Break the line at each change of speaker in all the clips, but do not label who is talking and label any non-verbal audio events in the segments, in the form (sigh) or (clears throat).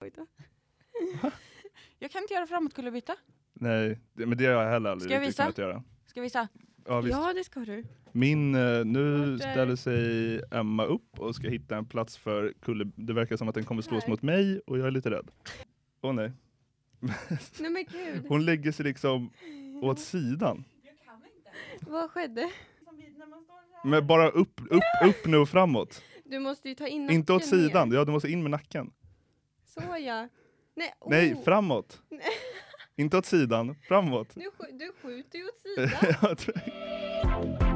(laughs) Jag kan inte göra framåtkullerbytta.
Nej, det, men det har jag heller aldrig
Ska jag
riktigt
visa?
kunnat göra.
Ska vi visa?
Ja, visst.
Ja, det ska du.
Min, eh, nu
Vart är-
ställer sig Emma upp och ska hitta en plats för Kulle. Det verkar som att den kommer slås
Här.
mot mig och jag är lite rädd. Åh nej. (laughs)
Nej men gud,
Hon lägger sig liksom åt sidan.
vad skedde?
Men bara upp, upp, upp nu och framåt.
Du måste ju ta in nacken
Inte åt
mer.
sidan, ja du måste in med nacken.
Så ja. Nej, oh.
Nej, framåt.
Nej.
Inte åt sidan, framåt.
du, sk- du
(laughs)
skjuter ju åt sidan.
Jag tror-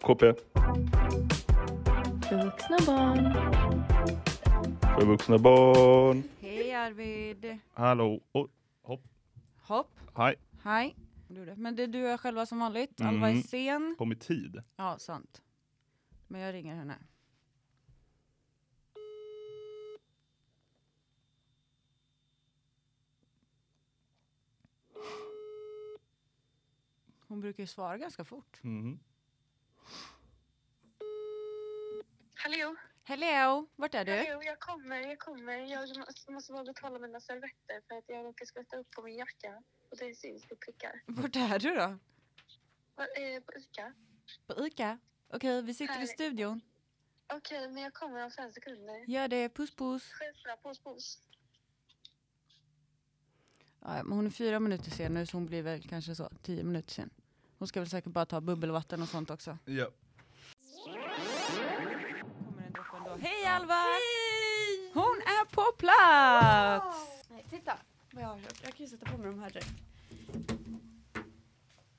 KP,
För vuxna barn.
för vuxna barn.
Hej Arvid!
Hallå. Oh,
Hopp.
hej,
Hej. Du det. Men det är du och jag själva som vanligt. Alva är
Mm.
sen.
på med tid.
Ja, sant. Men jag ringer henne. Hon brukar ju svara ganska fort.
Mhm.
Hallå?
Hello, vart är du?
Hallå, jag kommer, jag kommer. Jag måste, måste bara betala mina servetter för att jag råkar skvätta upp på min jacka. Och det syns på prickar.
Vart är du då?
Var, eh, på ICA?
På ICA? Okej, vi sitter i
Härligt.
studion.
Okej, men jag kommer om fem sekunder.
Gör det, puss puss.
Självklart, pos, pos.
Ja, men hon är fyra minuter sen nu så hon blir väl kanske så tio minuter sen. Hon ska väl säkert bara ta bubbelvatten och sånt också.
Ja.
Hej Alva! Hon är på plats!
Nej, titta vad jag har köpt. Jag kan ju sätta på mig de här direkt.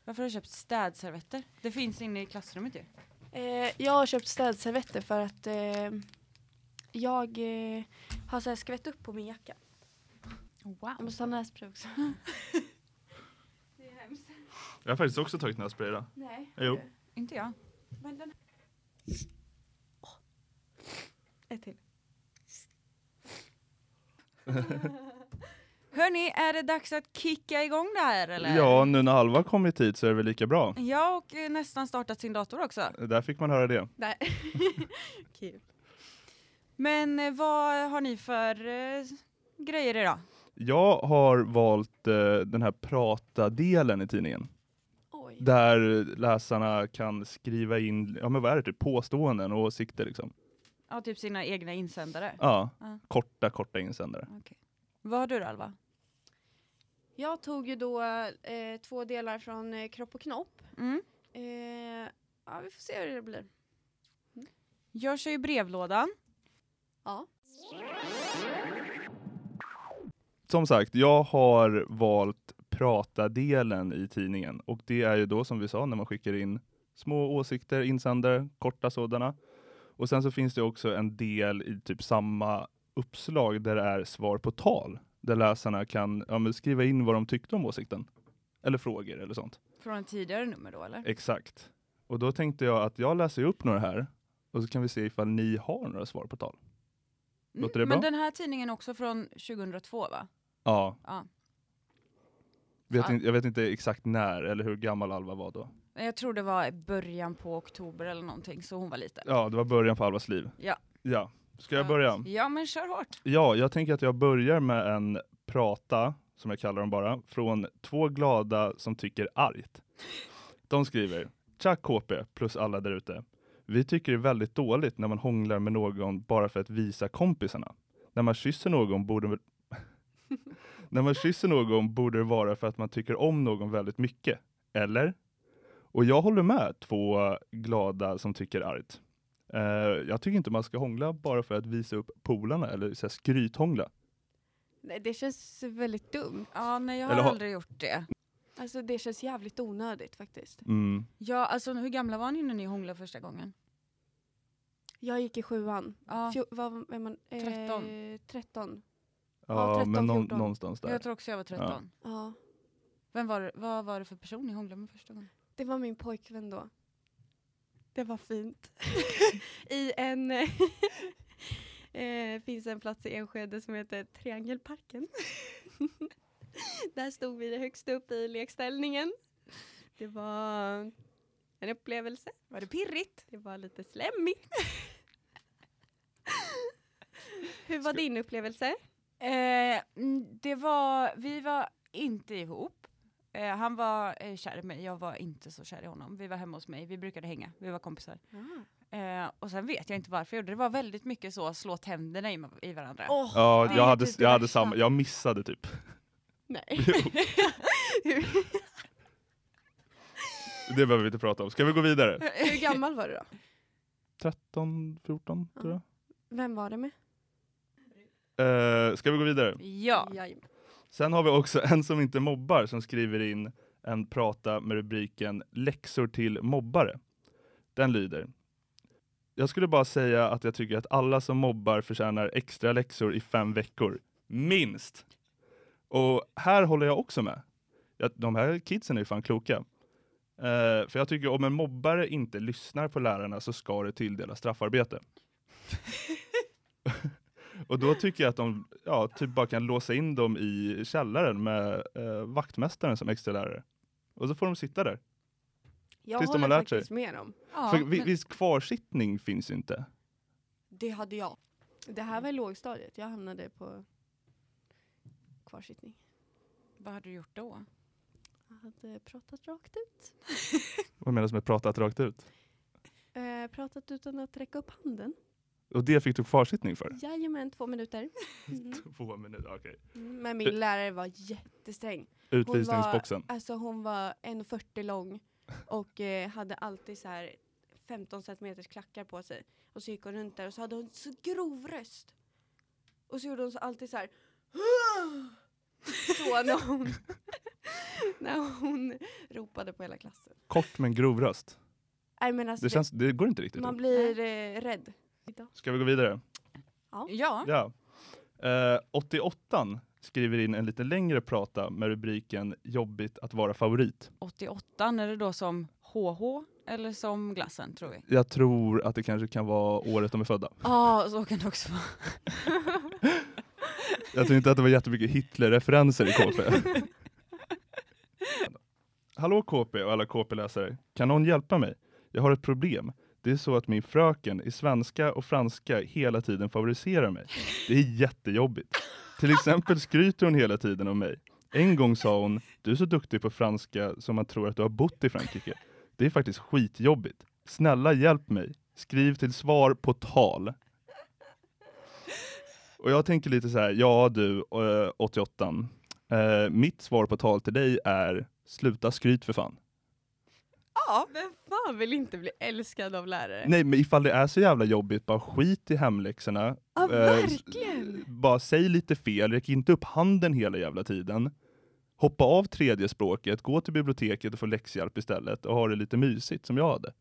Varför har du köpt städservetter? Det finns inne i klassrummet ju.
Eh, jag har köpt städservetter för att eh, jag eh, har så här skvätt upp på min jacka. Jag
Wow.
måste ha nässpray också. (laughs) det är hemskt.
Jag har faktiskt också tagit nässpray idag.
Nej.
Jo.
Inte jag. (laughs)
Ett till.
Hörni, är det dags att kicka igång det här eller?
Ja, nu när Alva kommit hit så är det väl lika bra.
Jag och eh, nästan startat sin dator också.
Där fick man höra det.
Där. (laughs) Kul.
Men eh, vad har ni för eh, grejer idag?
Jag har valt eh, den här prata-delen i tidningen.
Oj.
Där läsarna kan skriva in ja, men vad är det, typ, påståenden och åsikter. Liksom.
Ja, typ sina egna insändare.
Ja,
Ja.
Korta, korta insändare.
Vad har du då, Alva?
Jag tog ju då eh, två delar från eh, Kropp och Knopp.
Mm.
Eh, ja, vi får se hur det blir.
Jag kör ju brevlådan.
Ja.
Som sagt, jag har valt prata-delen i tidningen. Och det är ju då som vi sa när man skickar in små åsikter, insändare, korta sådana. Och sen så finns det också en del i typ samma uppslag där det är svar på tal. Där läsarna kan ja, men skriva in vad de tyckte om åsikten. Eller frågor eller sånt.
Från ett tidigare nummer då eller?
Exakt. Och då tänkte jag att jag läser upp några här och så kan vi se ifall ni har några svar på tal. Låter det
Mm, Men
bra?
den här tidningen är också från 2002 va?
Ja.
Ja.
Vet
Ja.
inte, jag vet inte exakt när eller hur gammal Alva var då.
Nej, Jag tror det var i början på oktober eller någonting så hon var liten.
Ja, det var början på Alvas liv.
Ja.
Ja. Ska jag börja?
Ja men kör hårt.
Ja, jag tänker att jag börjar med en prata, som jag kallar dem bara, från två glada som tycker argt. De skriver, Tja KP plus alla där ute. Vi tycker det är väldigt dåligt när man hånglar med någon bara för att visa kompisarna. När man kysser någon borde (laughs) när man kysser någon borde det vara för att man tycker om någon väldigt mycket. Eller? Och jag håller med två glada som tycker argt. Eh, jag tycker inte man ska hångla bara för att visa upp polarna eller så här, skrythångla.
Nej, det känns väldigt dumt.
Ja nej jag har
Eller har-
aldrig gjort det.
Alltså det känns jävligt onödigt faktiskt.
Mm.
Ja alltså hur gamla var ni när ni hånglade första gången?
Jag gick i sjuan.
Ja,
Fjo- vad är man? Eh,
Tretton.
tretton. Ja,
Ja,
13,
men någon,
14.
någonstans där.
jag tror också jag var 13.
Ja.
Vem var, det- vad var det för person ni hånglade med första gången?
Det var min pojkvän då. Det var fint. I
(laughs)
en... eh, finns en plats i Enskede som heter
(laughs)
Triangelparken. Där stod vi högst upp i lekställningen. Det var
en upplevelse.
Var det pirrigt?
Det var lite slemmigt. Hur var
Ska-
din upplevelse?
Eh, mm, det var, vi var inte ihop. Eh, han var eh, kär i mig, jag var inte så kär i honom. Vi var hemma hos mig, vi brukade hänga, vi var kompisar. Eh, och sen vet jag inte varför jag gjorde det. Det var väldigt mycket så, slå tänderna i, i varandra.
Åh,
Ja,
det är
jag hade,
typ det
jag hade
värsta.
samma, jag missade typ.
Nej.
Det behöver vi inte prata om. Ska vi gå vidare?
Hur gammal var du då?
13, 14 tror jag.
Vem var det med?
Eh, ska vi gå vidare?
Ja,
Jajamän.
Sen har vi också en som inte mobbar som skriver in en prata med rubriken Läxor till mobbare. Den lyder. Jag skulle bara säga att jag tycker att alla som mobbar förtjänar extra läxor i fem veckor. Minst! Och här håller jag också med. Ja, De här kidsen är ju fan kloka. Eh, för jag tycker om en mobbare inte lyssnar på lärarna så ska det tilldelas straffarbete. (laughs) Och då tycker jag att de ja, typ bara kan låsa in dem i källaren med eh, vaktmästaren som extra lärare. Och så får de sitta där.
Jag
Tills de
håller
har lärt sig.
faktiskt med dem.
ja
För vi,
men-
viss kvarsittning finns ju inte.
Det hade jag. Det
Mm.
här var i lågstadiet. Jag hamnade på kvarsittning.
vad hade du gjort då?
Jag hade pratat rakt ut.
Vad menas med pratat rakt ut?
Eh, pratat utan att räcka upp handen.
Och det fick du kvarsittning för?
Jajamän, två minuter. Mm.
(laughs) Två minuter, okej.
Mm, Men min lärare var jättesträng.
Utvisningsboxen.
Alltså hon var 1,40 lång och eh, hade alltid så här 15 centimeters klackar på sig. Och så gick hon runt där och så hade hon så grov röst. Och så gjorde hon så alltid så här. (gasps) Så när hon, (laughs) när hon ropade på hela klassen.
Kort men grov röst.
Nej men alltså,
Det, känns, det går inte
det,
riktigt.
man blir eh, rädd.
Ska vi gå vidare?
Ja,
Ja. Eh, 88 skriver in en lite längre prata med rubriken Jobbigt att vara favorit.
88 är det då som HH eller som glassen tror vi.
Jag tror att det kanske kan vara året de är födda.
Ja, så kan det också vara.
Jag tror inte att det var jättemycket Hitler-referenser i KP. Hallå KP och alla KP-läsare. Kan någon hjälpa mig? Jag har ett problem. Det är så att min fröken i svenska och franska hela tiden favoriserar mig. Det är jättejobbigt. Till exempel skryter hon hela tiden om mig. En gång sa hon, du är så duktig på franska som man tror att du har bott i Frankrike. Det är faktiskt skitjobbigt. Snälla hjälp mig. Skriv till svar på tal. Och jag tänker lite så här, ja du, eh, 88 eh, Mitt svar på tal till dig är, sluta skryt för fan.
Ja. Vem fan vill inte bli älskad av lärare?
Nej men ifall det är så jävla jobbigt, bara skit i hemläxorna.
Ja
Eh, s-
verkligen!
Bara säg lite fel, räck inte upp handen hela jävla tiden. Hoppa av tredje språket, gå till biblioteket och få läxhjälp istället och ha det lite mysigt som jag hade.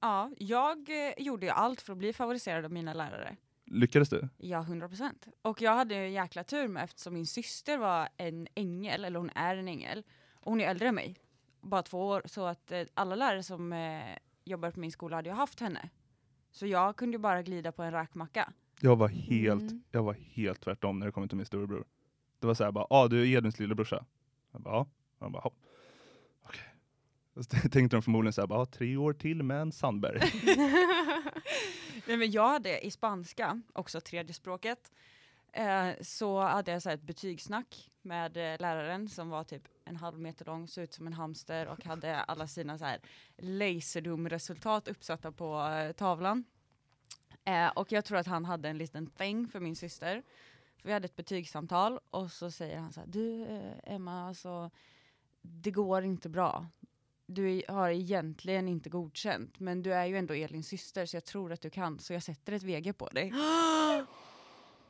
Ja, jag eh, gjorde ju allt för att bli favoriserad av mina lärare.
Lyckades du?
Ja, 100 procent. Och jag hade ju jäkla tur med eftersom min syster var en ängel, eller hon är en ängel. Och hon är äldre än mig, bara två år. Så att eh, alla lärare som eh, jobbar på min skola hade ju haft henne. Så jag kunde ju bara glida på en räkmacka.
Jag var helt,
Mm.
jag var helt tvärtom när det kom till min storebror. Det var så här bara, ah, du är Edvins lillebrorsa. Jag bara, ja. Han bara, "Ja." okej. Och så (laughs) tänkte de förmodligen så här, bara, "Ja, tre år till med en Sandberg.
Nej, men jag hade i spanska, också tredje språket, eh, så hade jag så här ett betygssnack med eh, läraren som var typ en halv meter lång, såg ut som en hamster och hade alla sina så här laserdom-resultat uppsatta på eh, tavlan. Eh, och jag tror att han hade en liten thing för min syster. För vi hade ett betygssamtal och så säger han så här, du eh, Emma, alltså, det går inte bra du är- har egentligen inte godkänt, men du är ju ändå Elins syster så jag tror att du kan, så jag sätter ett VG på dig.
(gasps)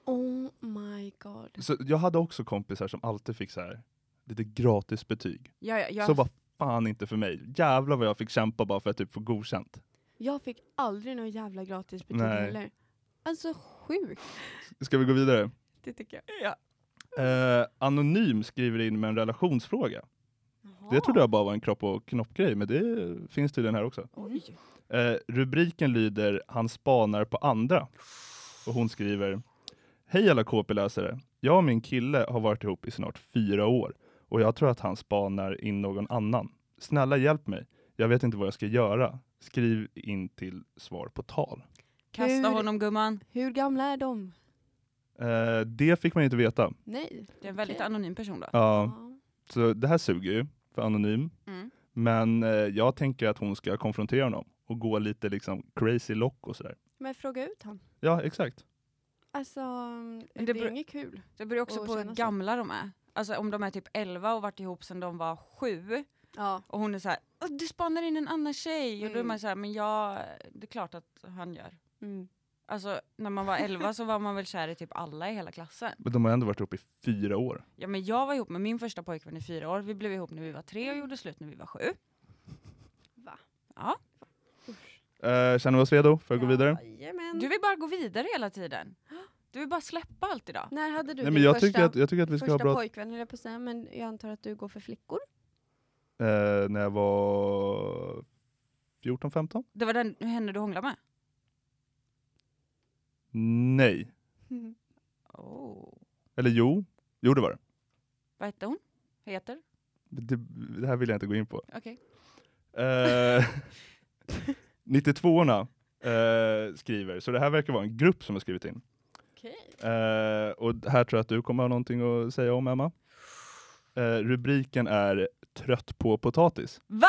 oh my god.
så jag hade också kompisar som alltid fick så här, lite gratis betyg.
Ja, ja, ja.
Så var fan inte för mig. Jävlar vad jag fick kämpa bara för att typ få godkänt.
Jag fick aldrig något jävla gratis betyg
Nej.
heller. Alltså sjukt.
Ska vi gå vidare?
Det tycker jag.
Eh, anonym skriver in med en relationsfråga. Det trodde jag bara var en kropp och knoppgrej, men det finns tydligen här också.
Oj.
Eh, rubriken lyder Han spanar på andra. Och hon skriver Hej alla KP-läsare. Jag och min kille har varit ihop i snart fyra år och jag tror att han spanar in någon annan. Snälla hjälp mig. jag vet inte vad jag ska göra. Skriv in till svar på tal.
Kasta
Hur-
honom gumman.
Hur gamla är de?
Eh, det fick man ju inte veta.
Nej.
Det är en väldigt
Okej.
anonym person då.
Ja,
Ja.
så det här suger ju för anonym.
Mm.
Men eh, jag tänker att hon ska konfrontera honom och gå lite liksom crazy lock och sådär.
Men fråga ut han.
Ja, exakt.
Alltså, det,
det
är
beror-
ju inget kul.
Det beror också
Och
på hur
känna så.
gamla de är. Alltså om de är typ 11 och varit ihop sedan de var 7
Ja.
och hon är så här, "Åh, du spanar in en annan tjej och då är
Mm.
man så här, men jag, det är klart att han gör.
Mm.
Alltså när man var 11 så var man väl kär i typ alla i hela klassen.
Men de har ändå varit ihop i fyra år.
Ja men jag var ihop med min första pojkvän i fyra år, vi blev ihop när vi var tre och
Mm.
gjorde slut när vi var sju.
Eh, känner vi oss redo för att gå vidare?
Jajamän.
Du vill bara gå vidare hela tiden. Du vill bara släppa allt idag.
När hade du
Nej,
din
men jag,
första,
tycker att, jag tycker att vi ska ha
första
bra...
pojkvän, höll jag på att säga, men jag antar att du går för flickor?
Eh, när jag var 14-15?
Det var den henne du hånglade med?
Nej.
Oh.
Eller jo. Jo, det var det.
Vad hette hon? Heter?
Det, det här vill jag inte gå in på.
Okej.
Eh, 92orna eh, skriver, så det här verkar vara en grupp som har skrivit in. Eh, och här tror jag att du kommer ha någonting att säga om, Emma. Eh, rubriken är Trött på potatis.
Va?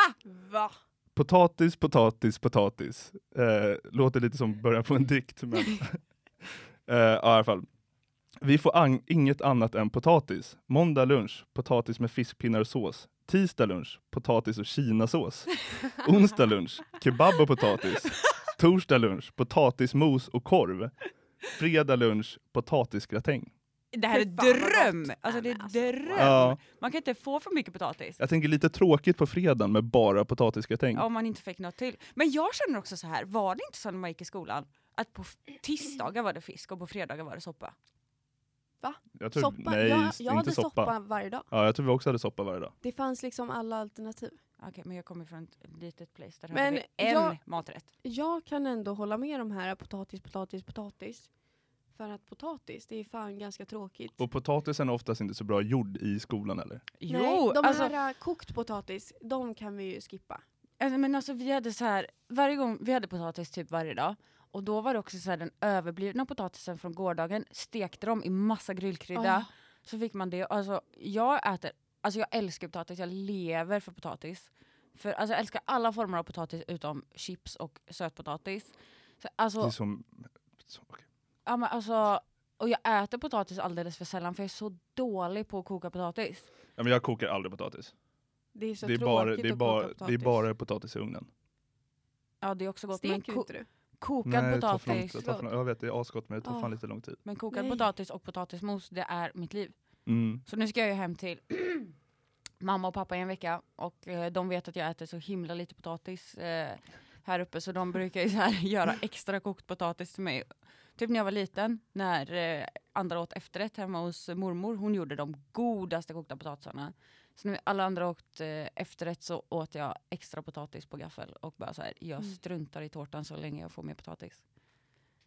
Va?
Potatis, potatis, potatis. Eh, låter lite som början på en dikt.
(laughs)
Men eh, ja, i alla fall. Vi får ang- inget annat än potatis. Måndag lunch, potatis med fiskpinnar och sås. Tisdag lunch, potatis och kinasås. Onsdag lunch, kebab och potatis. Torsdag lunch, potatismos och korv. Fredag lunch, potatisgratäng.
Det här är
Fy fan, vad gott.
dröm! Alltså det är
Nej, men alltså,
dröm!
Ja,
Man kan inte få för mycket potatis.
jag tänker lite tråkigt på fredagen med bara potatisgratäng.
Mm.
Om man inte fick något till. Men jag känner också så här, var det inte så när man gick i skolan? Att på f- tisdagar var det fisk och på fredagar var det soppa.
Jag tror,
Soppa?
Nej,
jag, jag
inte
hade
soppa.
soppa. varje dag.
Ja, jag tror vi också hade soppa varje dag.
Det fanns liksom alla alternativ.
Okej, men jag kommer från ett litet place där
Men
hade vi en
jag-
maträtt.
Jag kan ändå hålla med de här potatis, potatis, potatis. För att potatis, det är fan ganska tråkigt.
Och potatisen är oftast inte så bra gjord i skolan eller?
Jo,
Nej, de
alltså,
här äh, kokt potatis, de kan vi ju skippa.
Alltså, men alltså vi hade så här, varje gång, vi hade potatis typ varje dag. Och då var det också så här den överblivna potatisen från gårdagen, stekte dem i massa grillkrydda.
Ah.
Så fick man det. Alltså jag äter, alltså jag älskar potatis, jag lever för potatis. För alltså jag älskar alla former av potatis utom chips och sötpotatis. Så,
Det är
alltså,
som, som okej.
ja, men, alltså, och jag äter potatis alldeles för sällan för jag är så dålig på att koka potatis.
ja, men jag kokar aldrig potatis.
Det är så
det, är
tråkigt
bara, det, är
att
bara,
koka
det är
potatis.
bara potatis i ugnen.
Ja det är också gott men
Steker
ko-
inte du?
kokad
det tar för lång
potatis.
tid. Det tar för lång- Jag vet, det är asgott men det tar
Ah.
fan lite lång tid.
Men kokad
Nej.
potatis och potatismos det är mitt liv.
Mm.
Så nu ska jag ju hem till (clears throat) mamma och pappa i en vecka och eh, de vet att jag äter så himla lite potatis eh, här uppe så de brukar ju så här (laughs) göra extra kokt potatis till mig. Typ när jag var liten, när eh, andra åt efterrätt hemma hos mormor, hon gjorde de godaste kokta potatisarna. Så när alla andra åt eh, efterrätt så åt jag extra potatis på gaffel och bara så här, jag
Mm.
struntar i tårtan så länge jag får mer potatis.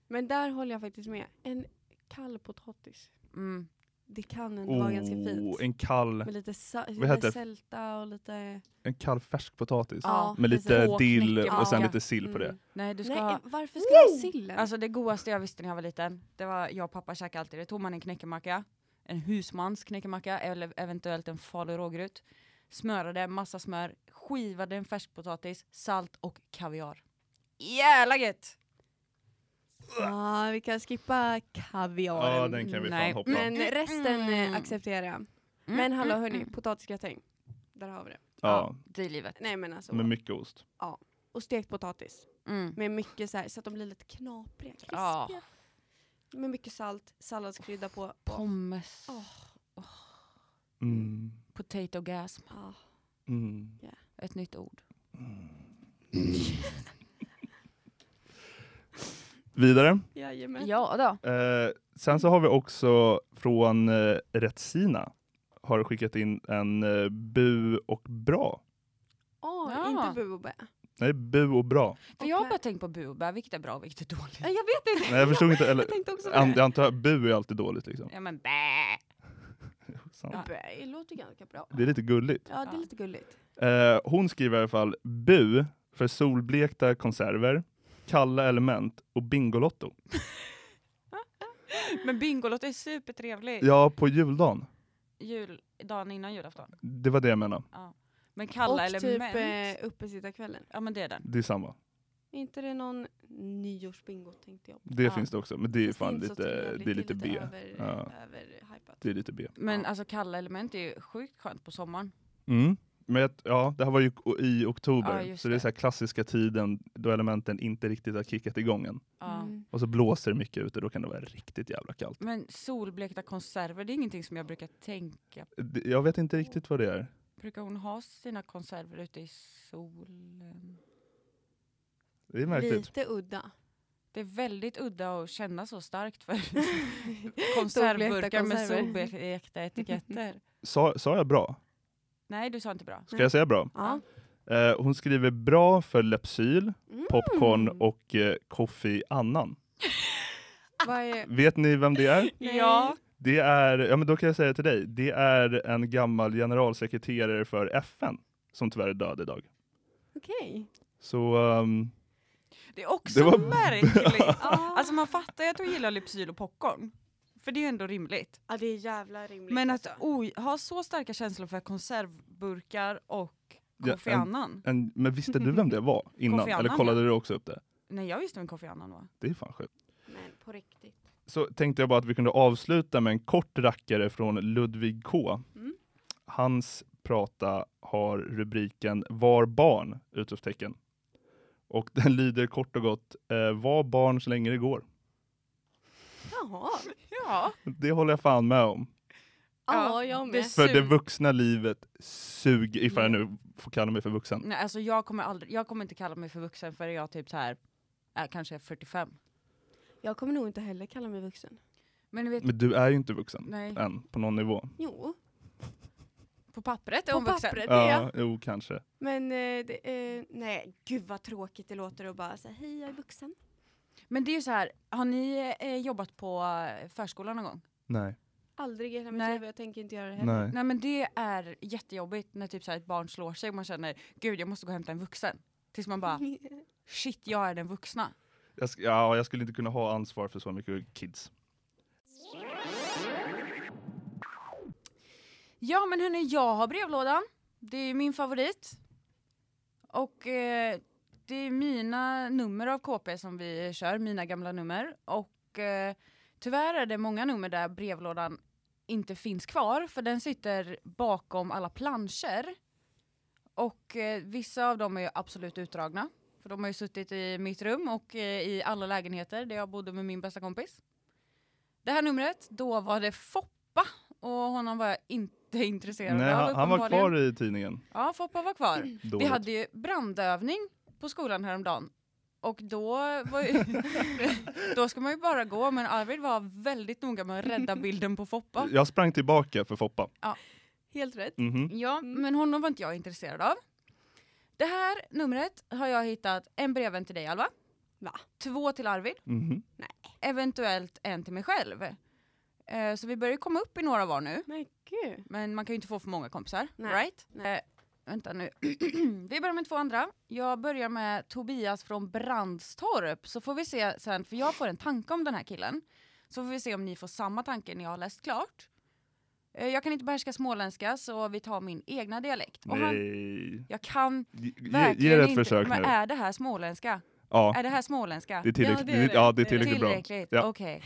Men där håller jag faktiskt med. En kall potatis.
Mm.
Det kan ändå vara ganska fint.
Oh, en kall,
Med lite, sa-
heter det?
lite sälta och lite...
en kall färsk potatis.
Ja,
Med lite
Och
dill
knäckebröd.
och sen
Ja.
lite sill på det.
Mm.
Nej, du ska
Nej,
ha...
eh, varför ska jag ha sillen?
Alltså det godaste jag visste när jag var liten, det var jag och pappa käkade alltid, det tog man en knäckemacka, en husmans knäckemacka eller eventuellt en falu rågryt, smörade massa smör, skivade en färskpotatis, salt och kaviar. Jävla gött!
ah, vi kan skippa kaviaren.
Ja, den kan vi
Nej.
fan hoppa.
Men resten
Mm.
eh, accepterar jag.
Mm,
Men hallå
mm,
hörni,
mm.
potatisgratäng. Där har vi det.
ja,
Det är livet.
Nej men alltså.
med mycket ost.
och stekt potatis.
Mm. Ah,
Med mycket så här, så att de blir lite knapriga, krispiga.
Ja.
Med mycket salt, salladskrydda på. och-
Pommes,
Åh.
Mm.
potato gas,
Ja.
Mm.
ett nytt ord.
Vidare.
Jajamän.
Ja då.
Eh, sen så har vi också från eh, Retsina har skickat in en eh, bu och bra.
Åh,
Ja.
inte bu och bä.
Nej, bu och bra.
För jag har
Okej.
bara tänkt på bu och bä, vilket är bra och vilket är
Ja,
dåligt.
Jag vet inte. (laughs)
Nej, jag förstod inte. Eller,
Jag tänkte också på
an,
det.
jag antar att bu är alltid dåligt liksom.
Ja men bä!
sant.
Ja.
Böj låter ganska bra.
Det är lite gulligt.
Ja, det
Ja.
är lite gulligt.
Eh, hon skriver i alla fall bu för solblekta konserver, kalla element och Bingolotto.
Men Bingolotto är supertrevlig.
Ja, på juldagen.
Jul, dagen innan julafton.
Det var det jag menade.
Men kalla
och
element.
typ eh, uppesittarkvällen.
Ja men det är den.
Det är samma.
Är inte det någon nyårsbingo tänkte jag.
Det
Ja.
finns det också, men det är ju
Fast
fan
inte så
lite,
trevligt,
det är lite B.
Över,
Ja.
överhypat.
Det är lite B.
Men
Ja.
alltså kalla element är ju sjukt skönt på sommaren.
Mm. Men jag, ja, det här var ju o- i oktober,
Ja, just
så det är
det.
så här klassiska tiden då elementen inte riktigt har kickat igång än.
Ja.
Mm.
Och så blåser det mycket ute, då kan det vara riktigt jävla kallt.
Men solblekta konserver, det är ingenting som jag brukar tänka på.
Det- Jag vet inte riktigt vad det är.
Brukar hon ha sina konserver ute i solen?
Det är märkligt.
Lite udda.
Det är väldigt udda att känna så starkt
(laughs)
för
Solblekta
konservburkar med
konserver.
solblekta
(laughs)
etiketter.
Sa, sa jag bra?
Nej, du sa inte bra.
Ska jag säga bra?
Ja.
Eh, hon skriver bra för Lepsyl,
Mm.
popcorn och eh, koffe annan.
Vad är...
Vet ni vem
(laughs)
det är?
Nej.
Ja,
Det är, ja men då kan jag säga till dig, det är en gammal generalsekreterare för FN som tyvärr är död idag.
Okej.
Så ehm,
det är också
Det var-
märkligt.
(laughs)
alltså man fattar ju att hon gillar Lypsyl och popcorn. För det är ju ändå rimligt.
Ja, det är jävla rimligt.
Men att
alltså.
oj, ha så starka känslor för konservburkar och
Ja,
Kofi
en-
Annan.
en, men visste du vem det
(laughs)
var innan?
Kofi Annan,
Eller kollade du också upp det?
Nej, jag visste vem Kofi Annan var.
Det är fan sjukt.
Men på riktigt.
Så tänkte jag bara att vi kunde avsluta med en kort rackare från Ludvig K.
Mm.
Hans prata har rubriken Var barn? Utropstecken. Och den lyder kort och gott eh, Var barn så länge det går.
Jaha.
Ja,
Det håller jag fan med om.
Ja, jag med.
det
För det
suger.
vuxna livet suger, ifall
Mm.
jag nu får kalla mig för vuxen.
Nej, alltså jag kommer, aldrig, jag kommer inte kalla mig för vuxen förrän jag typ så här, är kanske 45.
Jag kommer nog inte heller kalla mig vuxen.
Men du vet,
Men du är ju inte vuxen
nej,
än, på någon nivå.
Jo,
på pappret är
på
hon vuxen.
pappret det är jag.
Ja, jo kanske.
Men eh, det, eh, nej, gud vad tråkigt det låter att bara säga hej jag är vuxen.
Men det är ju så här, har ni eh, jobbat på eh, förskolan någon gång?
Nej.
Aldrig i hela mitt
Nej.
liv och jag tänker inte göra det heller.
Nej.
Nej men det är jättejobbigt när typ så här ett barn slår sig och man känner gud jag måste gå och hämta en vuxen. Tills man (laughs) bara shit jag är den vuxna.
Jag, sk- ja, jag skulle inte kunna ha ansvar för så mycket kids.
Ja men hörni jag har brevlådan. Det är min favorit. Och eh, det är mina nummer av KP som vi kör, mina gamla nummer. Och eh, tyvärr är det många nummer där brevlådan inte finns kvar för den sitter bakom alla planscher. Och eh, vissa av dem är ju absolut utdragna. För de har ju suttit i mitt rum och eh, i alla lägenheter där jag bodde med min bästa kompis. Det här numret, då var det Foppa och honom var jag inte (laughs) intresserad
Nej,
av
han, han var
uppenbarligen.
kvar i tidningen.
Ja, Foppa var kvar.
(clears throat)
Vi
Dåligt.
hade ju brandövning på skolan häromdagen. Och då, var ju, (laughs) då ska man ju bara gå, men Arvid var väldigt noga med att rädda bilden på Foppa.
Jag sprang tillbaka för Foppa.
Helt rätt.
Mhm.
Ja,
Mm.
men honom var inte jag intresserad av. Det här numret har jag hittat en brevvän till dig Alva.
Va?
Två till Arvid,
Mhm.
eventuellt en till mig själv. Eh, så vi börjar ju komma upp i några var nu.
Men gud.
Men man kan ju inte få för många kompisar,
Nej.
right?
Nej.
Eh, vänta nu. (clears throat) vi börjar med två andra. Jag börjar med Tobias från Brandstorp, så får vi se sen, för jag får en tanke om den här killen. Så får vi se om ni får samma tanke när jag har läst klart. Eh, jag kan inte behärska småländska, så vi tar min egna dialekt. Och han,
Nej.
jag kan
Ge, ge-
verkligen
ge det ett
inte...
försök
men
nu.
är det här småländska?
Ja,
Är det här småländska?
det är tillräckligt,
Ja, det är det.
ja, det är tillräckligt bra.
Tillräckligt,
Ja.
okej.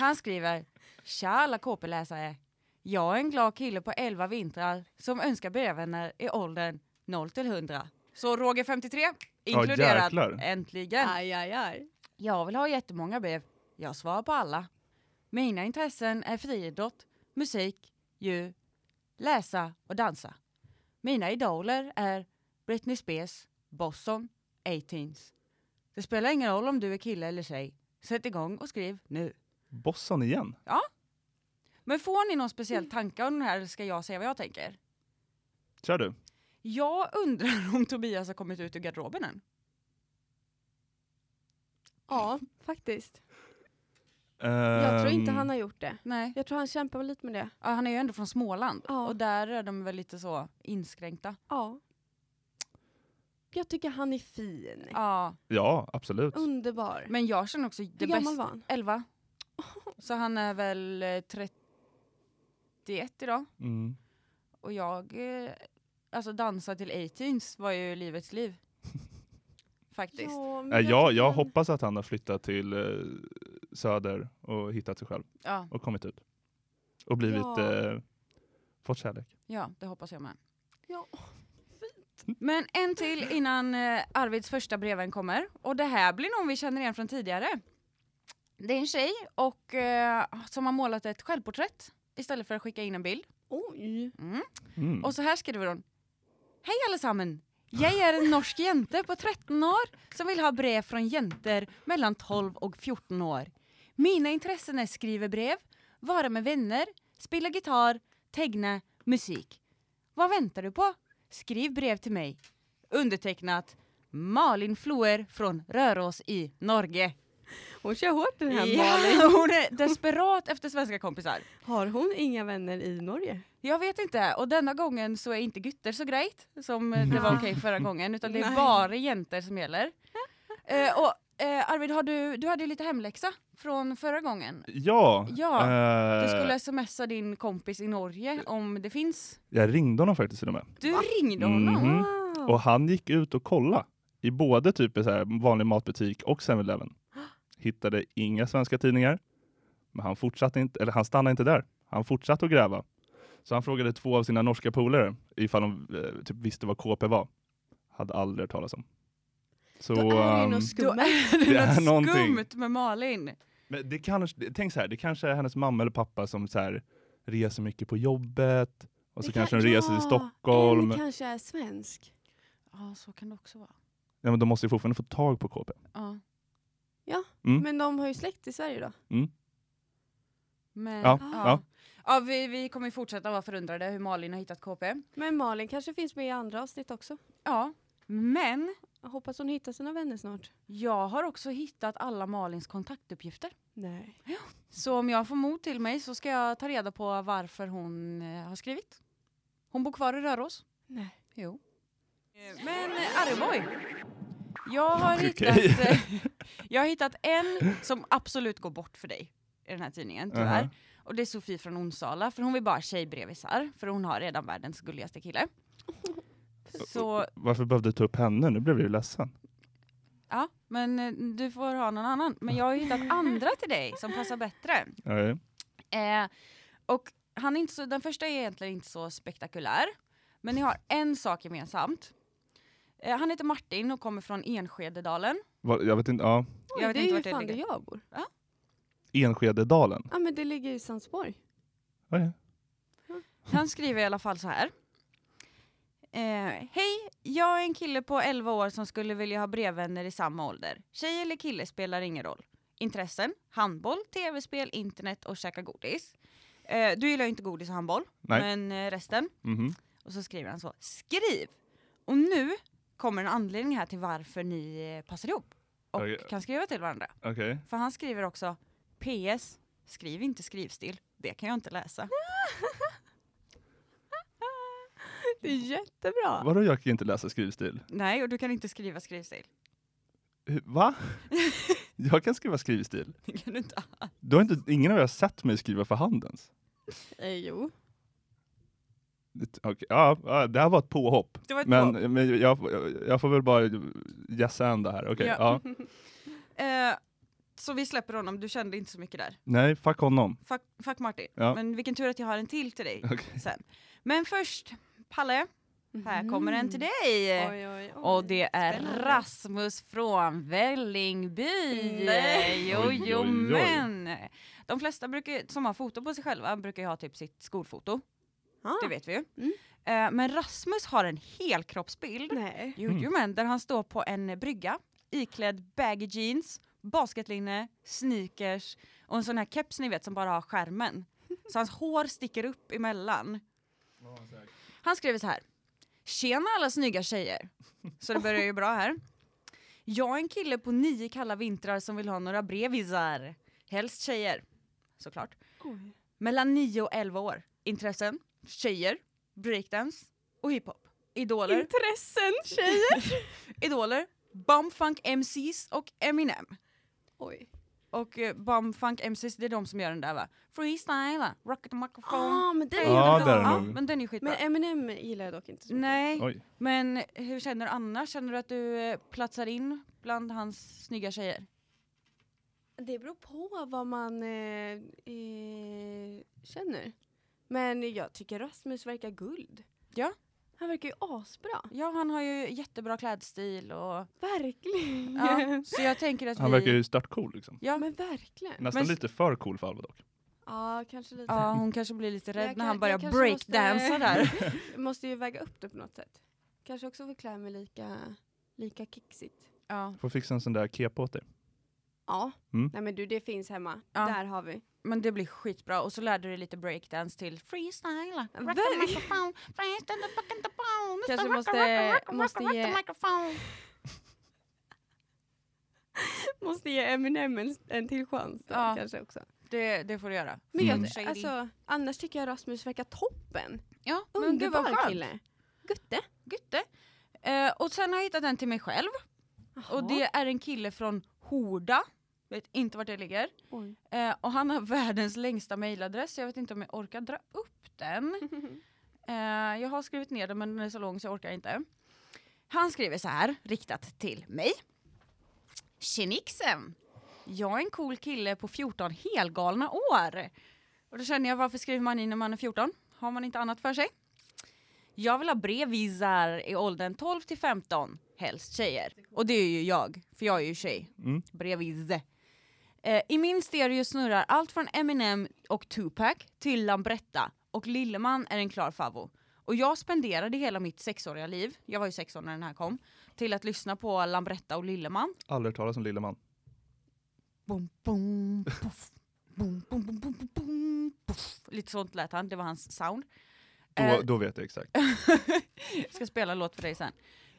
Han skriver, tja alla KP-läsare. Jag är en glad kille på 11 vintrar som önskar brevvänner i åldern 0 till 100. Så Roger 53, inkluderad.
jäklar.
Äntligen.
(laughs) Aj, aj, aj.
Jag vill ha jättemånga brev. Jag svarar på alla. Mina intressen är friidrott, musik, djur, läsa och dansa. Mina idoler är Britney Spears, Boston, 18s. Det spelar ingen roll om du är kille eller tjej. Sätt igång och skriv nu.
Bossan igen.
Men får ni någon speciell tanke om den här eller ska jag säga vad jag tänker?
Kör du.
Jag undrar (laughs) om Tobias har kommit ut ur garderoben än.
Ja, faktiskt. Jag tror inte
Ehm,
han har gjort det.
Nej,
Jag tror han kämpar lite med det.
ja, han är ju ändå från Småland
Ja.
och där är de väl lite så inskränkta.
Ja. Jag tycker han är fin.
Ja,
Ja, absolut.
Underbar.
men jag känner också
Hur
det
gammal
bästa.
var han?
11. Så han är väl eh, 31 idag.
Mm.
Och jag, eh, alltså dansa till 18s var ju livets liv. Faktiskt.
men
Nej, Äh, jag,
tycker
jag
han-
hoppas att han har flyttat till eh, Söder och hittat sig själv
Ja,
och kommit ut. Och blivit,
Ja.
eh, fått kärlek.
ja, det hoppas jag med.
Ja,
Men en till innan eh, Arvids första breven kommer. Och det här blir någon vi känner igen från tidigare. Det är en tjej och, eh, som har målat ett självporträtt istället för att skicka in en bild.
Oj.
Mm.
Mm.
Och så här skriver hon. Hej allesammen! Jag är en norsk jente på 13 år som vill ha brev från jenter mellan 12 och 14 år. Mina intressen är skriva brev, vara med vänner, spela gitarr, tegna, musik. Vad väntar du på? Skriv brev till mig. Undertecknat Malin Floer från Röros i Norge.
Hon kör hårt den här Malin.
Ja, hon är desperat efter svenska kompisar.
Har hon inga vänner i Norge?
Jag vet inte. Och denna gången så är inte gutter så grejt som eh, det var okej förra gången. Utan det är
Nej.
bara jenter som gäller. (laughs) Eh, och eh, Arvid, har du, du hade ju lite hemläxa från förra gången.
Ja,
Ja,
eh,
Du skulle smsa din kompis i Norge om det finns.
jag ringde honom faktiskt till och med.
Du ringde honom.
Mhm.
Ah.
Och han gick ut och kollade i både typ en så här vanlig matbutik och 7-Eleven. Hittade inga svenska tidningar. Men han, fortsatte inte, eller han stannade inte där. Han fortsatte att gräva. Så han frågade två av sina norska polare ifall de eh, typ visste vad KP var. Hade aldrig hört talas om. Så,
Då är det ju
ehm,
något skumt.
(laughs)
Det
är
är något
någonting.
skumt med Malin.
men det kanske, det- tänk så här, det kanske är hennes mamma eller pappa som så här, reser mycket på jobbet. Och så
Det
kanske
kan-
de reser
ja,
till Stockholm.
En kanske är svensk.
Ja, så kan det också vara.
Ja, men de måste ju fortfarande få tag på KP.
Ja.
Mm.
Men de har ju släkt i Sverige då.
Men,
Ja,
ja.
ja.
ja vi, vi kommer ju fortsätta vara förundrade hur Malin har hittat KP.
Men Malin kanske finns med i andra avsnitt också.
Ja, men
Jag hoppas hon hittar sina vänner snart.
jag har också hittat alla Malins kontaktuppgifter.
Nej.
Så om jag får mod till mig så ska jag ta reda på varför hon eh, har skrivit. Hon bor kvar i Röros.
Nej.
Jo. Eh, Men eh, Arboy. Jag har,
Okej.
hittat, eh, jag har hittat en som absolut går bort för dig i den här tidningen tyvärr.
Mhm.
Och det är Sofie från Onsala för hon vill bara ha tjejbrevisar för hon har redan världens gulligaste kille. Så
Varför behövde du ta upp henne? Nu blev jag ju ledsen.
ja, men eh, du får ha någon annan. Men jag har ju hittat andra till dig som passar bättre.
Nej.
Eh, och han är inte så, den första är egentligen inte så spektakulär. Men ni har en sak gemensamt. Eh, han heter Martin och kommer från Enskededalen.
Vad- Jag vet inte, ja.
Oj,
Jag vet
det
inte
är
vart
ju
det
fan
ligger.
där jag bor.
Enskededalen.
Ja men det ligger i Sandsborg.
Okej.
Han skriver i alla fall så här. Eh, Hej, jag är en kille på 11 år som skulle vilja ha brevvänner i samma ålder. Tjej eller kille spelar ingen roll. Intressen? Handboll, tv-spel, internet och käka godis. Eh, du gillar ju inte godis och handboll,
Nej.
men eh, resten.
Mhm.
Och så skriver han så, skriv! Och nu kommer en anledning här till varför ni eh, passar ihop och
Okej.
kan skriva till varandra.
Okej.
För han skriver också, PS, skriv inte skrivstil, det kan jag inte
Mm.
läsa.
Det är
Ah.
jättebra.
Vadå jag kan inte läsa skrivstil?
Nej, och du kan inte skriva skrivstil. (laughs)
Hur- Va? jag kan skriva skrivstil.
Det kan du inte.
Du har inte, ingen av er har sett mig skriva för hand ens.
Eh, jo.
Det- okej, Ja, ja, det här var ett påhopp.
Det var ett
men
påhopp.
men jag, jag får väl bara gässa ända här. Okej.
Ja.
ja.
(laughs) Eh, så vi släpper honom, du kände inte så mycket där.
Nej, fuck honom.
Fuck, fuck Martin.
Ja.
Men vilken tur att jag har en till till
(laughs)
dig
Okej.
sen. Men först, Palle, här kommer en till dig.
Mm. Oj, oj, oj.
Eh, Och det är
Spännande.
Rasmus från Vällingby.
Nej.
Jo,
Oj,
jo,
oj, oj.
men. De flesta brukar, som har foto på sig själva brukar ju ha typ sitt skolfoto.
Ah.
Det vet vi ju.
Mm.
Eh, Men Rasmus har en helkroppsbild.
Nej.
Jo, jo, men där han står på en brygga iklädd baggy jeans, basketlinne, sneakers och en sån här keps ni vet som bara har skärmen.
(laughs)
Så hans hår sticker upp emellan. Han skriver så här. Tjena alla snygga tjejer. Så det börjar ju bra här. Jag är en kille på nio kalla vintrar som vill ha några brevisar. Helst tjejer, såklart.
Oj.
Mellan 9 och 11 år. Intressen? Tjejer, breakdance och hiphop. Idoler?
Intressen
(laughs)
tjejer.
Idoler, Bumfunk MCs och Eminem.
Oj.
Och eh, Bumfunk MCs, det är de som gör den där va? Freestyla, rocket the microphone.
Ah, men det är
Ja,
ju
det är
bra.
det
ja,
nog.
men den är skitbra.
Men Eminem gillar jag dock inte så mycket.
Nej,
Oj.
men hur känner du annars? Känner du att du eh, platsar in bland hans snygga tjejer?
Det beror på vad man eh, eh, känner. Men jag tycker Rasmus verkar guld.
Ja.
Han verkar ju asbra.
Ja, han har ju jättebra klädstil och...
Verkligen.
Ja, så jag tänker att
Han
vi...
verkar ju startcool liksom.
Ja,
Men verkligen. (laughs) Ja,
Nästan
Men-
lite för cool för Alva dock.
kanske lite.
ja, hon kanske blir lite rädd
Jag
när
kan-
han börjar
jag kanske måste-
breakdansa
(laughs)
där.
Måste ju väga upp det på något sätt. Kanske också få klä mig lika, lika kixigt.
Ja,
Får fixa en sån där kepa åt dig.
Ja.
Mm.
Nej men du, det finns hemma.
Ja.
Där har vi.
men det blir skitbra. Och så lärde du dig lite breakdance till freestyla. Rock the
Verkligen.
microphone, freestyle the fucking the phone. Mr.
Kanske
Rock
måste-
the rock the rock the
måste
rock the
ge-
microphone.
Måste ge Eminem en, en till chans då,
Ja.
kanske också.
Det, det får du göra.
Men jag,
Mm.
Shady.
alltså, annars tycker jag Rasmus verkar toppen.
Ja, men gud vad
Underbar
skönt.
kille. Gutte.
Gutte. Eh, och sen har jag hittat en till mig själv. Och
Jaha.
det är en kille från Horda. Vet inte vart det ligger.
Oj.
Eh, och han har (laughs) världens längsta mejladress. så Jag vet inte om jag orkar dra upp
(laughs)
den. Eh, jag har skrivit ner den men den är så lång så jag orkar inte. Han skriver så här, riktat till mig. Tjenixen! Jag är en cool kille på 14 helgalna år. Och då känner jag, varför skriver man in när man är 14? Har man inte annat för sig? Jag vill ha brevisar i åldern 12 till 15, helst tjejer. Och det är ju jag, för jag är ju tjej.
Mm.
Brevis. Eh, I min stereo snurrar allt från Eminem och Tupac till Lambretta och Lilleman är en klar favvo. Och jag spenderade hela mitt sexåriga liv, jag var ju sex år när den här kom, till att lyssna på Lambretta och Lilleman.
Aldrig hört talas om lille man.
Bom, bom, poff. Bom, bom, bom, bom, bom, bom, poff. Lite sånt lät han, det var hans sound.
Då,
Eh,
då vet
(laughs)
jag exakt.
jag ska spela en låt för dig sen.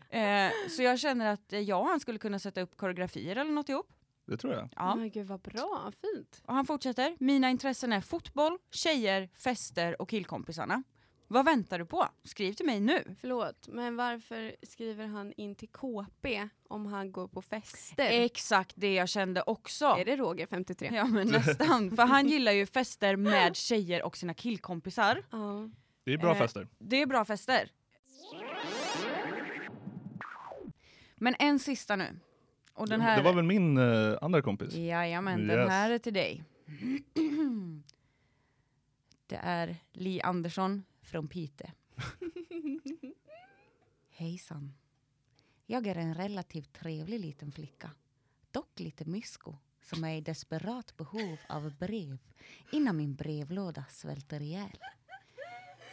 Eh, så jag känner att eh, jag och han skulle kunna sätta upp koreografier eller något ihop.
Det tror jag.
Ja.
Men gud vad bra, fint.
Och han fortsätter. Mina intressen är fotboll, tjejer, fester och killkompisarna. Vad väntar du på? Skriv till mig nu.
Förlåt, men varför skriver han in till KP om han går på fester?
Exakt det jag kände också.
Är det Roger 53?
Eh, Ja men nästan. För han gillar ju fester med tjejer och sina killkompisar.
Ja.
Det är bra
Eh,
fester.
Det är bra fester. Men en sista nu. Och den här...
Det var väl min eh, andra kompis?
Jajamän, den
Yes.
här är till dig. (clears throat) Det är Li Andersson från Pite. Hejsan. Jag är en relativt trevlig liten flicka. Dock lite mysko som är i desperat behov av brev innan min brevlåda svälter ihjäl.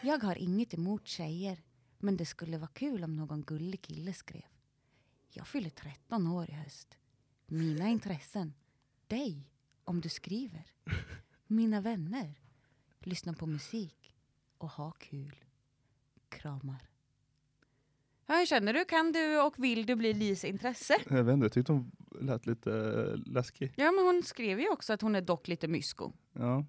Jag har inget emot tjejer, men det skulle vara kul om någon gullig kille skrev. Jag fyller 13 år i höst. Mina intressen dig om du skriver. Mina vänner. Lyssna på musik och ha kul. Kramar. Hur känner du? Kan du och vill du bli Lis intresse?
Jag vet inte, jag tyckte hon lät lite eh, läskig.
Ja, men hon skrev ju också att hon är dock lite mysko.
Ja.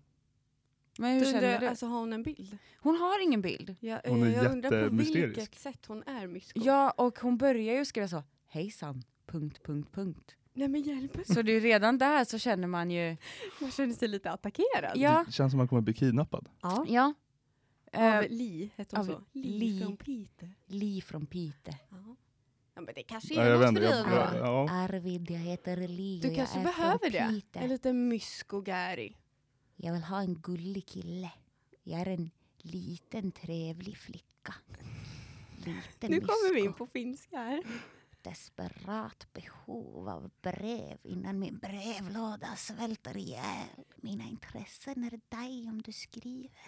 Men hur
Du
känner
undrar,
du?
alltså har hon en bild?
Hon har ingen bild.
Jag, eh,
Hon är
jag undrar på
jättemysterisk.
vilket sätt hon är mysko.
Ja, och hon börjar ju skriva så. Hejsan, punkt, punkt, punkt.
Nej men hjälp oss.
Så det är redan där så känner man ju...
Man känner sig lite attackerad.
Ja.
Det känns som man kommer bli kidnappad.
Ja.
Ja. Eh,
Av Li, hette hon
av
så?
Li.
från Piteå.
Li från Piteå.
Ja. ja men det kanske
Ja,
är
jag
något
vet
för
inte,
dig
jag,
att
bra.
jag,
vara.
ja.
Arvid, jag heter Li
Du kanske behöver det. En liten mysko-gäri.
Jag vill ha en gullig kille. Jag är en liten trevlig flicka. Liten
Nu kommer vi in
mysko.
på finska här.
Desperat behov av brev innan min brevlåda svälter ihjäl. Mina intressen är dig om du skriver.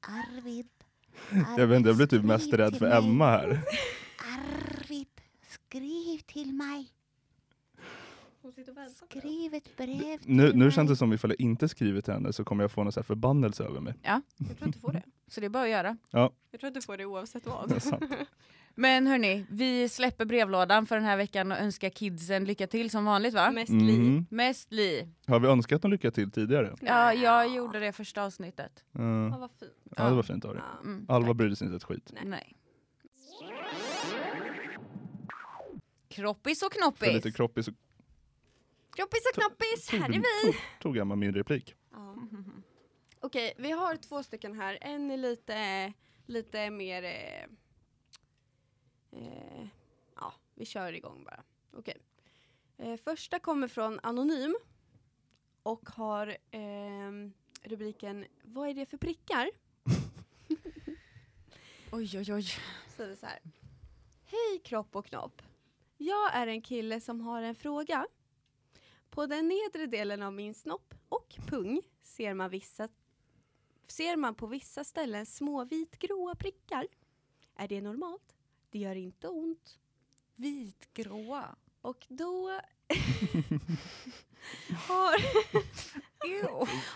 Arvid.
(laughs) jag vet inte, jag blir typ mest
skriv
rädd
till
för
mig.
Emma här.
Arvid, skriv till mig. Skriv ett brev till
Nu, nu
mig.
känns det som ifall jag inte skriver till henne så kommer jag få någon så här förbannelse över mig.
(laughs) Jag tror att du får det.
Så det är bara att göra.
(laughs) Jag tror att du får det oavsett vad.
Det är sant.
Men hörni, vi släpper brevlådan för den här veckan och önskar kidsen lycka till som vanligt va?
Mest liv.
Mm.
Mest li.
Har vi önskat dem lycka till tidigare?
Ja, jag gjorde det första avsnittet.
Mm.
Ja, vad fint.
Ja, det var fint av dig.
Ja.
Mm.
Alva brydde sig inte ett skit.
Nej. Kroppis och knoppis.
För lite kroppis så
Kroppis och knoppis, här är vi!
tog Emma min replik.
Ja. Okej, vi har två stycken här. En är lite, lite mer... Eh, eh, ja, vi kör igång bara. Okej. Eh, första kommer från Anonym och har ehm, rubriken Vad är det för prickar?
Oj, oj, oj.
Så är det så här. Hej kropp och knopp. Jag är en kille som har en fråga. På den nedre delen av min snopp och pung ser man, vissa, ser man på vissa ställen små vitgråa prickar. Är det normalt? Det gör inte ont.
Vitgråa.
Och då (laughs) har,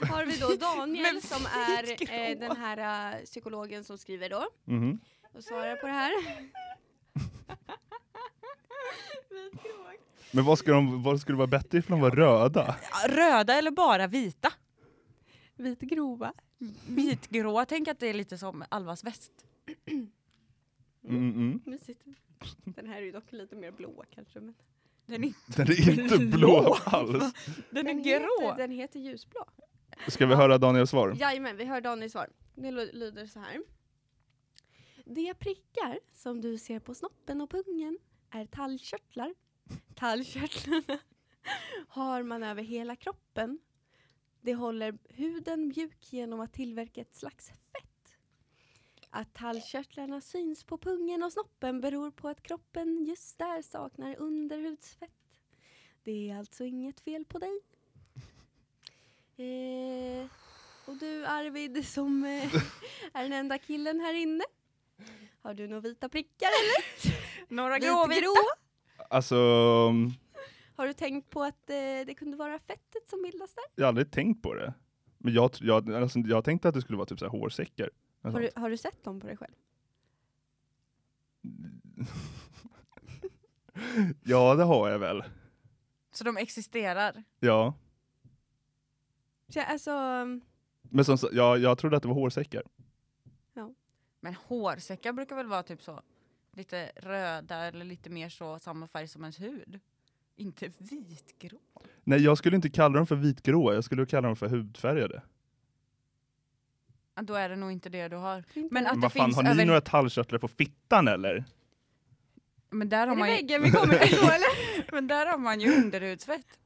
har vi då Daniel
Men
som är
vitgråa.
eh, den här eh, psykologen som skriver då
Mhm.
och svarar på det här.
Men vad skulle, de, vad skulle vara bättre ifall de var röda?
Röda eller bara vita?
Vitgrova.
Vitgråa, tänk att det är lite som Alvas väst.
Mm, mm.
Mysigt. Den här är ju dock lite mer blå kanske. Men
Den är,
Den är inte blå alls.
den är
Heter,
grå.
den heter ljusblå.
Ska vi höra Daniels svar?
Jajamän, vi hör Daniels svar. Det lo- lyder så här. De prickar som du ser på snoppen och pungen är tallkörtlar. Tallkörtlarna (laughs) har man över hela kroppen. Det håller huden mjuk genom att tillverka ett slags fett. Att tallkörtlarna syns på pungen och snoppen beror på att kroppen just där saknar underhudsfett. Det är alltså inget fel på (laughs) dig. Eh, och du Arvid som eh, är den enda killen här inne. Har du några vita prickar eller?
Några
Vitgrå?
gråvita.
Alltså,
Har du tänkt på att eh, det kunde vara fettet som bildas där?
jag har aldrig tänkt på det. Men jag, jag, alltså, jag tänkte att det skulle vara typ så här hårsäckar. eller
Har du,
sånt.
har du sett dem på dig själv?
Ja, det har jag väl.
Så de existerar.
Ja.
Så, jag- alltså, mm,
Men som, sagt, ja, jag trodde att det var hårsäckar.
Men hårsäckar brukar väl vara typ så lite röda eller lite mer så samma färg som ens hud. Inte vitgrå.
Nej, jag skulle inte kalla dem för vitgråa, jag skulle kalla dem för hudfärgade.
Ja, Då är det nog inte det du har.
inte
Men
det.
att
Men
det
vad fan,
finns
har ni
över...
några tallkörtlar på fittan eller?
Men där har
är det
man ju...
väggen vi kommer till då
(laughs)
eller?
Men där har man ju underhudsfett.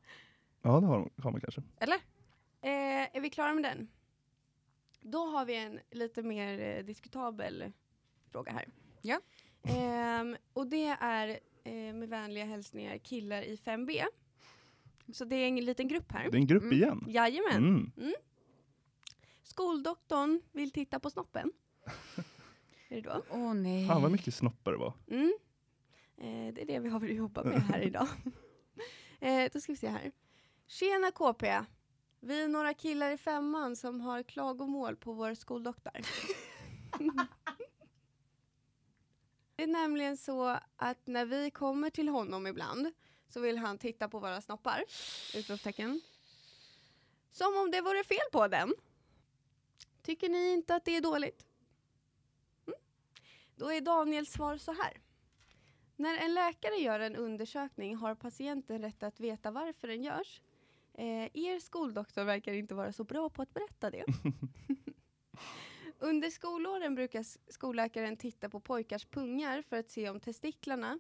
Ja, det har, de, har man kanske.
Eh, är vi klara med den? Då har vi en lite mer eh, diskutabel fråga här.
Ja.
Ehm, och det är eh, med vänliga hälsningar killar i 5B. Så det är en liten grupp här.
Det är en grupp
Mm.
igen.
Jajamän.
Mm.
Skoldoktorn vill titta på snoppen. är det då?
Åh nej.
Fan vad mycket snoppar det var.
Mm. Eh, det är det vi har att jobba med här idag. eh, då ska vi se här. Tjena KP! Vi är några killar i femman som har klagomål på vår skoldoktor. det är nämligen så att när vi kommer till honom ibland så vill han titta på våra snoppar. Utropstecken. Som om det vore fel på den. Tycker ni inte att det är dåligt? Mm. Då är Daniels svar så här. När en läkare gör en undersökning har patienten rätt att veta varför den görs. Eh, er skoldoktor verkar inte vara så bra på att berätta det. Under skolåren brukar s- skolläkaren titta på pojkars pungar för att se om testiklarna,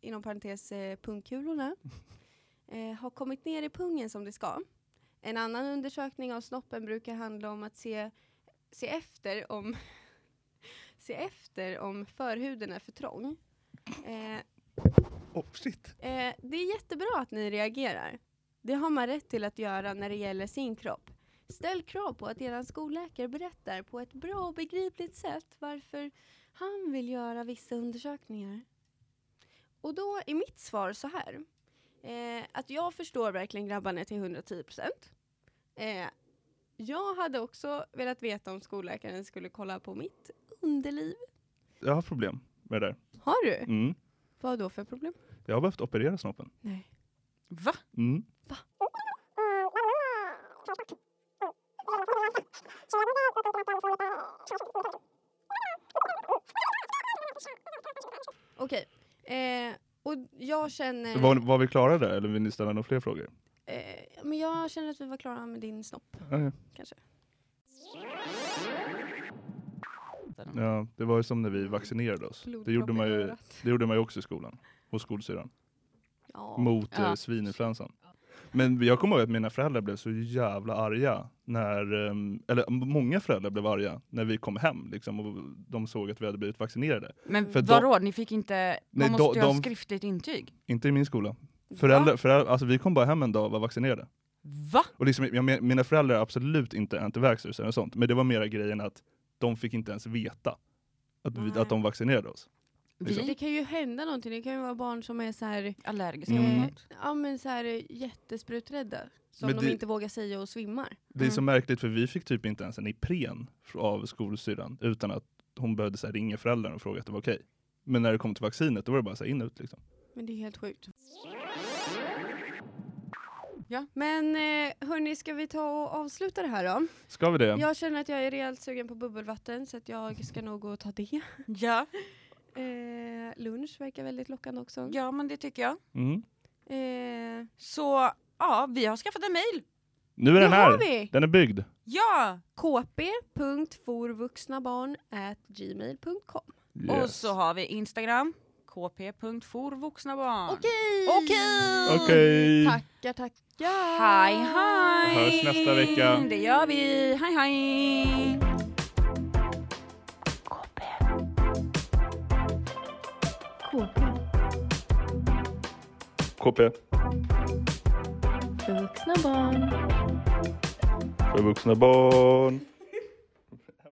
inom parentes eh, pungkulorna, eh, har kommit ner i pungen som det ska. En annan undersökning av snoppen brukar handla om att se, se efter om (laughs) se efter om förhuden är för trång. Eh,
Oh, shit.
eh, det är jättebra att ni reagerar. Det har man rätt till att göra när det gäller sin kropp. Ställ krav på att er skolläkare berättar på ett bra och begripligt sätt varför han vill göra vissa undersökningar. Och då är mitt svar så här. Eh, att jag förstår verkligen grabbarna till 110 procent. Eh, jag hade också velat veta om skolläkaren skulle kolla på mitt underliv.
Jag har problem med det där.
Har du?
Mm.
Vad då för problem?
Jag har behövt operera snoppen.
Nej.
Va?
Mm.
Okej. Eh, och jag känner...
Var, var vi klara där eller vill ni ställa några fler frågor?
Eh, men jag känner att vi var klara med din snopp.
Ja, ja. Ja, det var ju som när vi vaccinerade oss. Det gjorde, man ju,
Blodpropp i örat.
det gjorde man ju också i skolan, hos skolsyrran,
Ja.
mot eh,
Ja.
svininfluensan. Men jag kommer ihåg att mina föräldrar blev så jävla arga, när, ehm, eller många föräldrar blev arga när vi kom hem liksom, och de såg att vi hade blivit vaccinerade.
Men
För de-
vadå, ni fick inte,
Nej,
man måste
de-
ju ha
de-
skriftligt intyg?
Inte i min skola. Föräldrar, föräldrar, alltså, vi kom bara hem en dag och var vaccinerade.
Va?
Och liksom, jag, men- mina föräldrar är absolut inte antivaxxers eller sånt, men det var mera grejen att de fick inte ens veta att, vi,
Nej.
att de vaccinerade oss.
Vi
Det kan ju hända någonting. Det kan ju vara barn som är så här,
allergiska
Mm.
mot något?
ja, men så här eh, jättespruträdda. Som
Men
de
det-
inte vågar säga och svimmar.
Det är så
Mm.
märkligt för vi fick typ inte ens en Ipren fr- av skolsyrran utan att hon behövde så här ringa föräldrarna och fråga att det var okej. Men när det kom till vaccinet då var det bara så här in och ut liksom.
Men det är helt sjukt.
Ja.
Men eh, hörni, ska vi ta och avsluta det här då?
Ska vi det?
Jag känner att jag är rejält sugen på bubbelvatten så att jag ska nog gå och ta det.
Ja.
Eh, lunch verkar väldigt lockande också.
ja, men det tycker jag.
Mm.
Eh,
Så ja, vi har skaffat en mail.
Nu är
det
den här!
har vi!
Den är byggd.
Ja!
kp.forvuxnabarn.gmail.com
Och
Yes.
så har vi Instagram, kp.forvuxnabarn.
Okej!
Okej.
Okej!
Tackar, tackar!
Hej, hej!
Hörs nästa vecka.
Det gör vi. Hej, hej!
KP,
Vuxna barn.
för vuxna barn.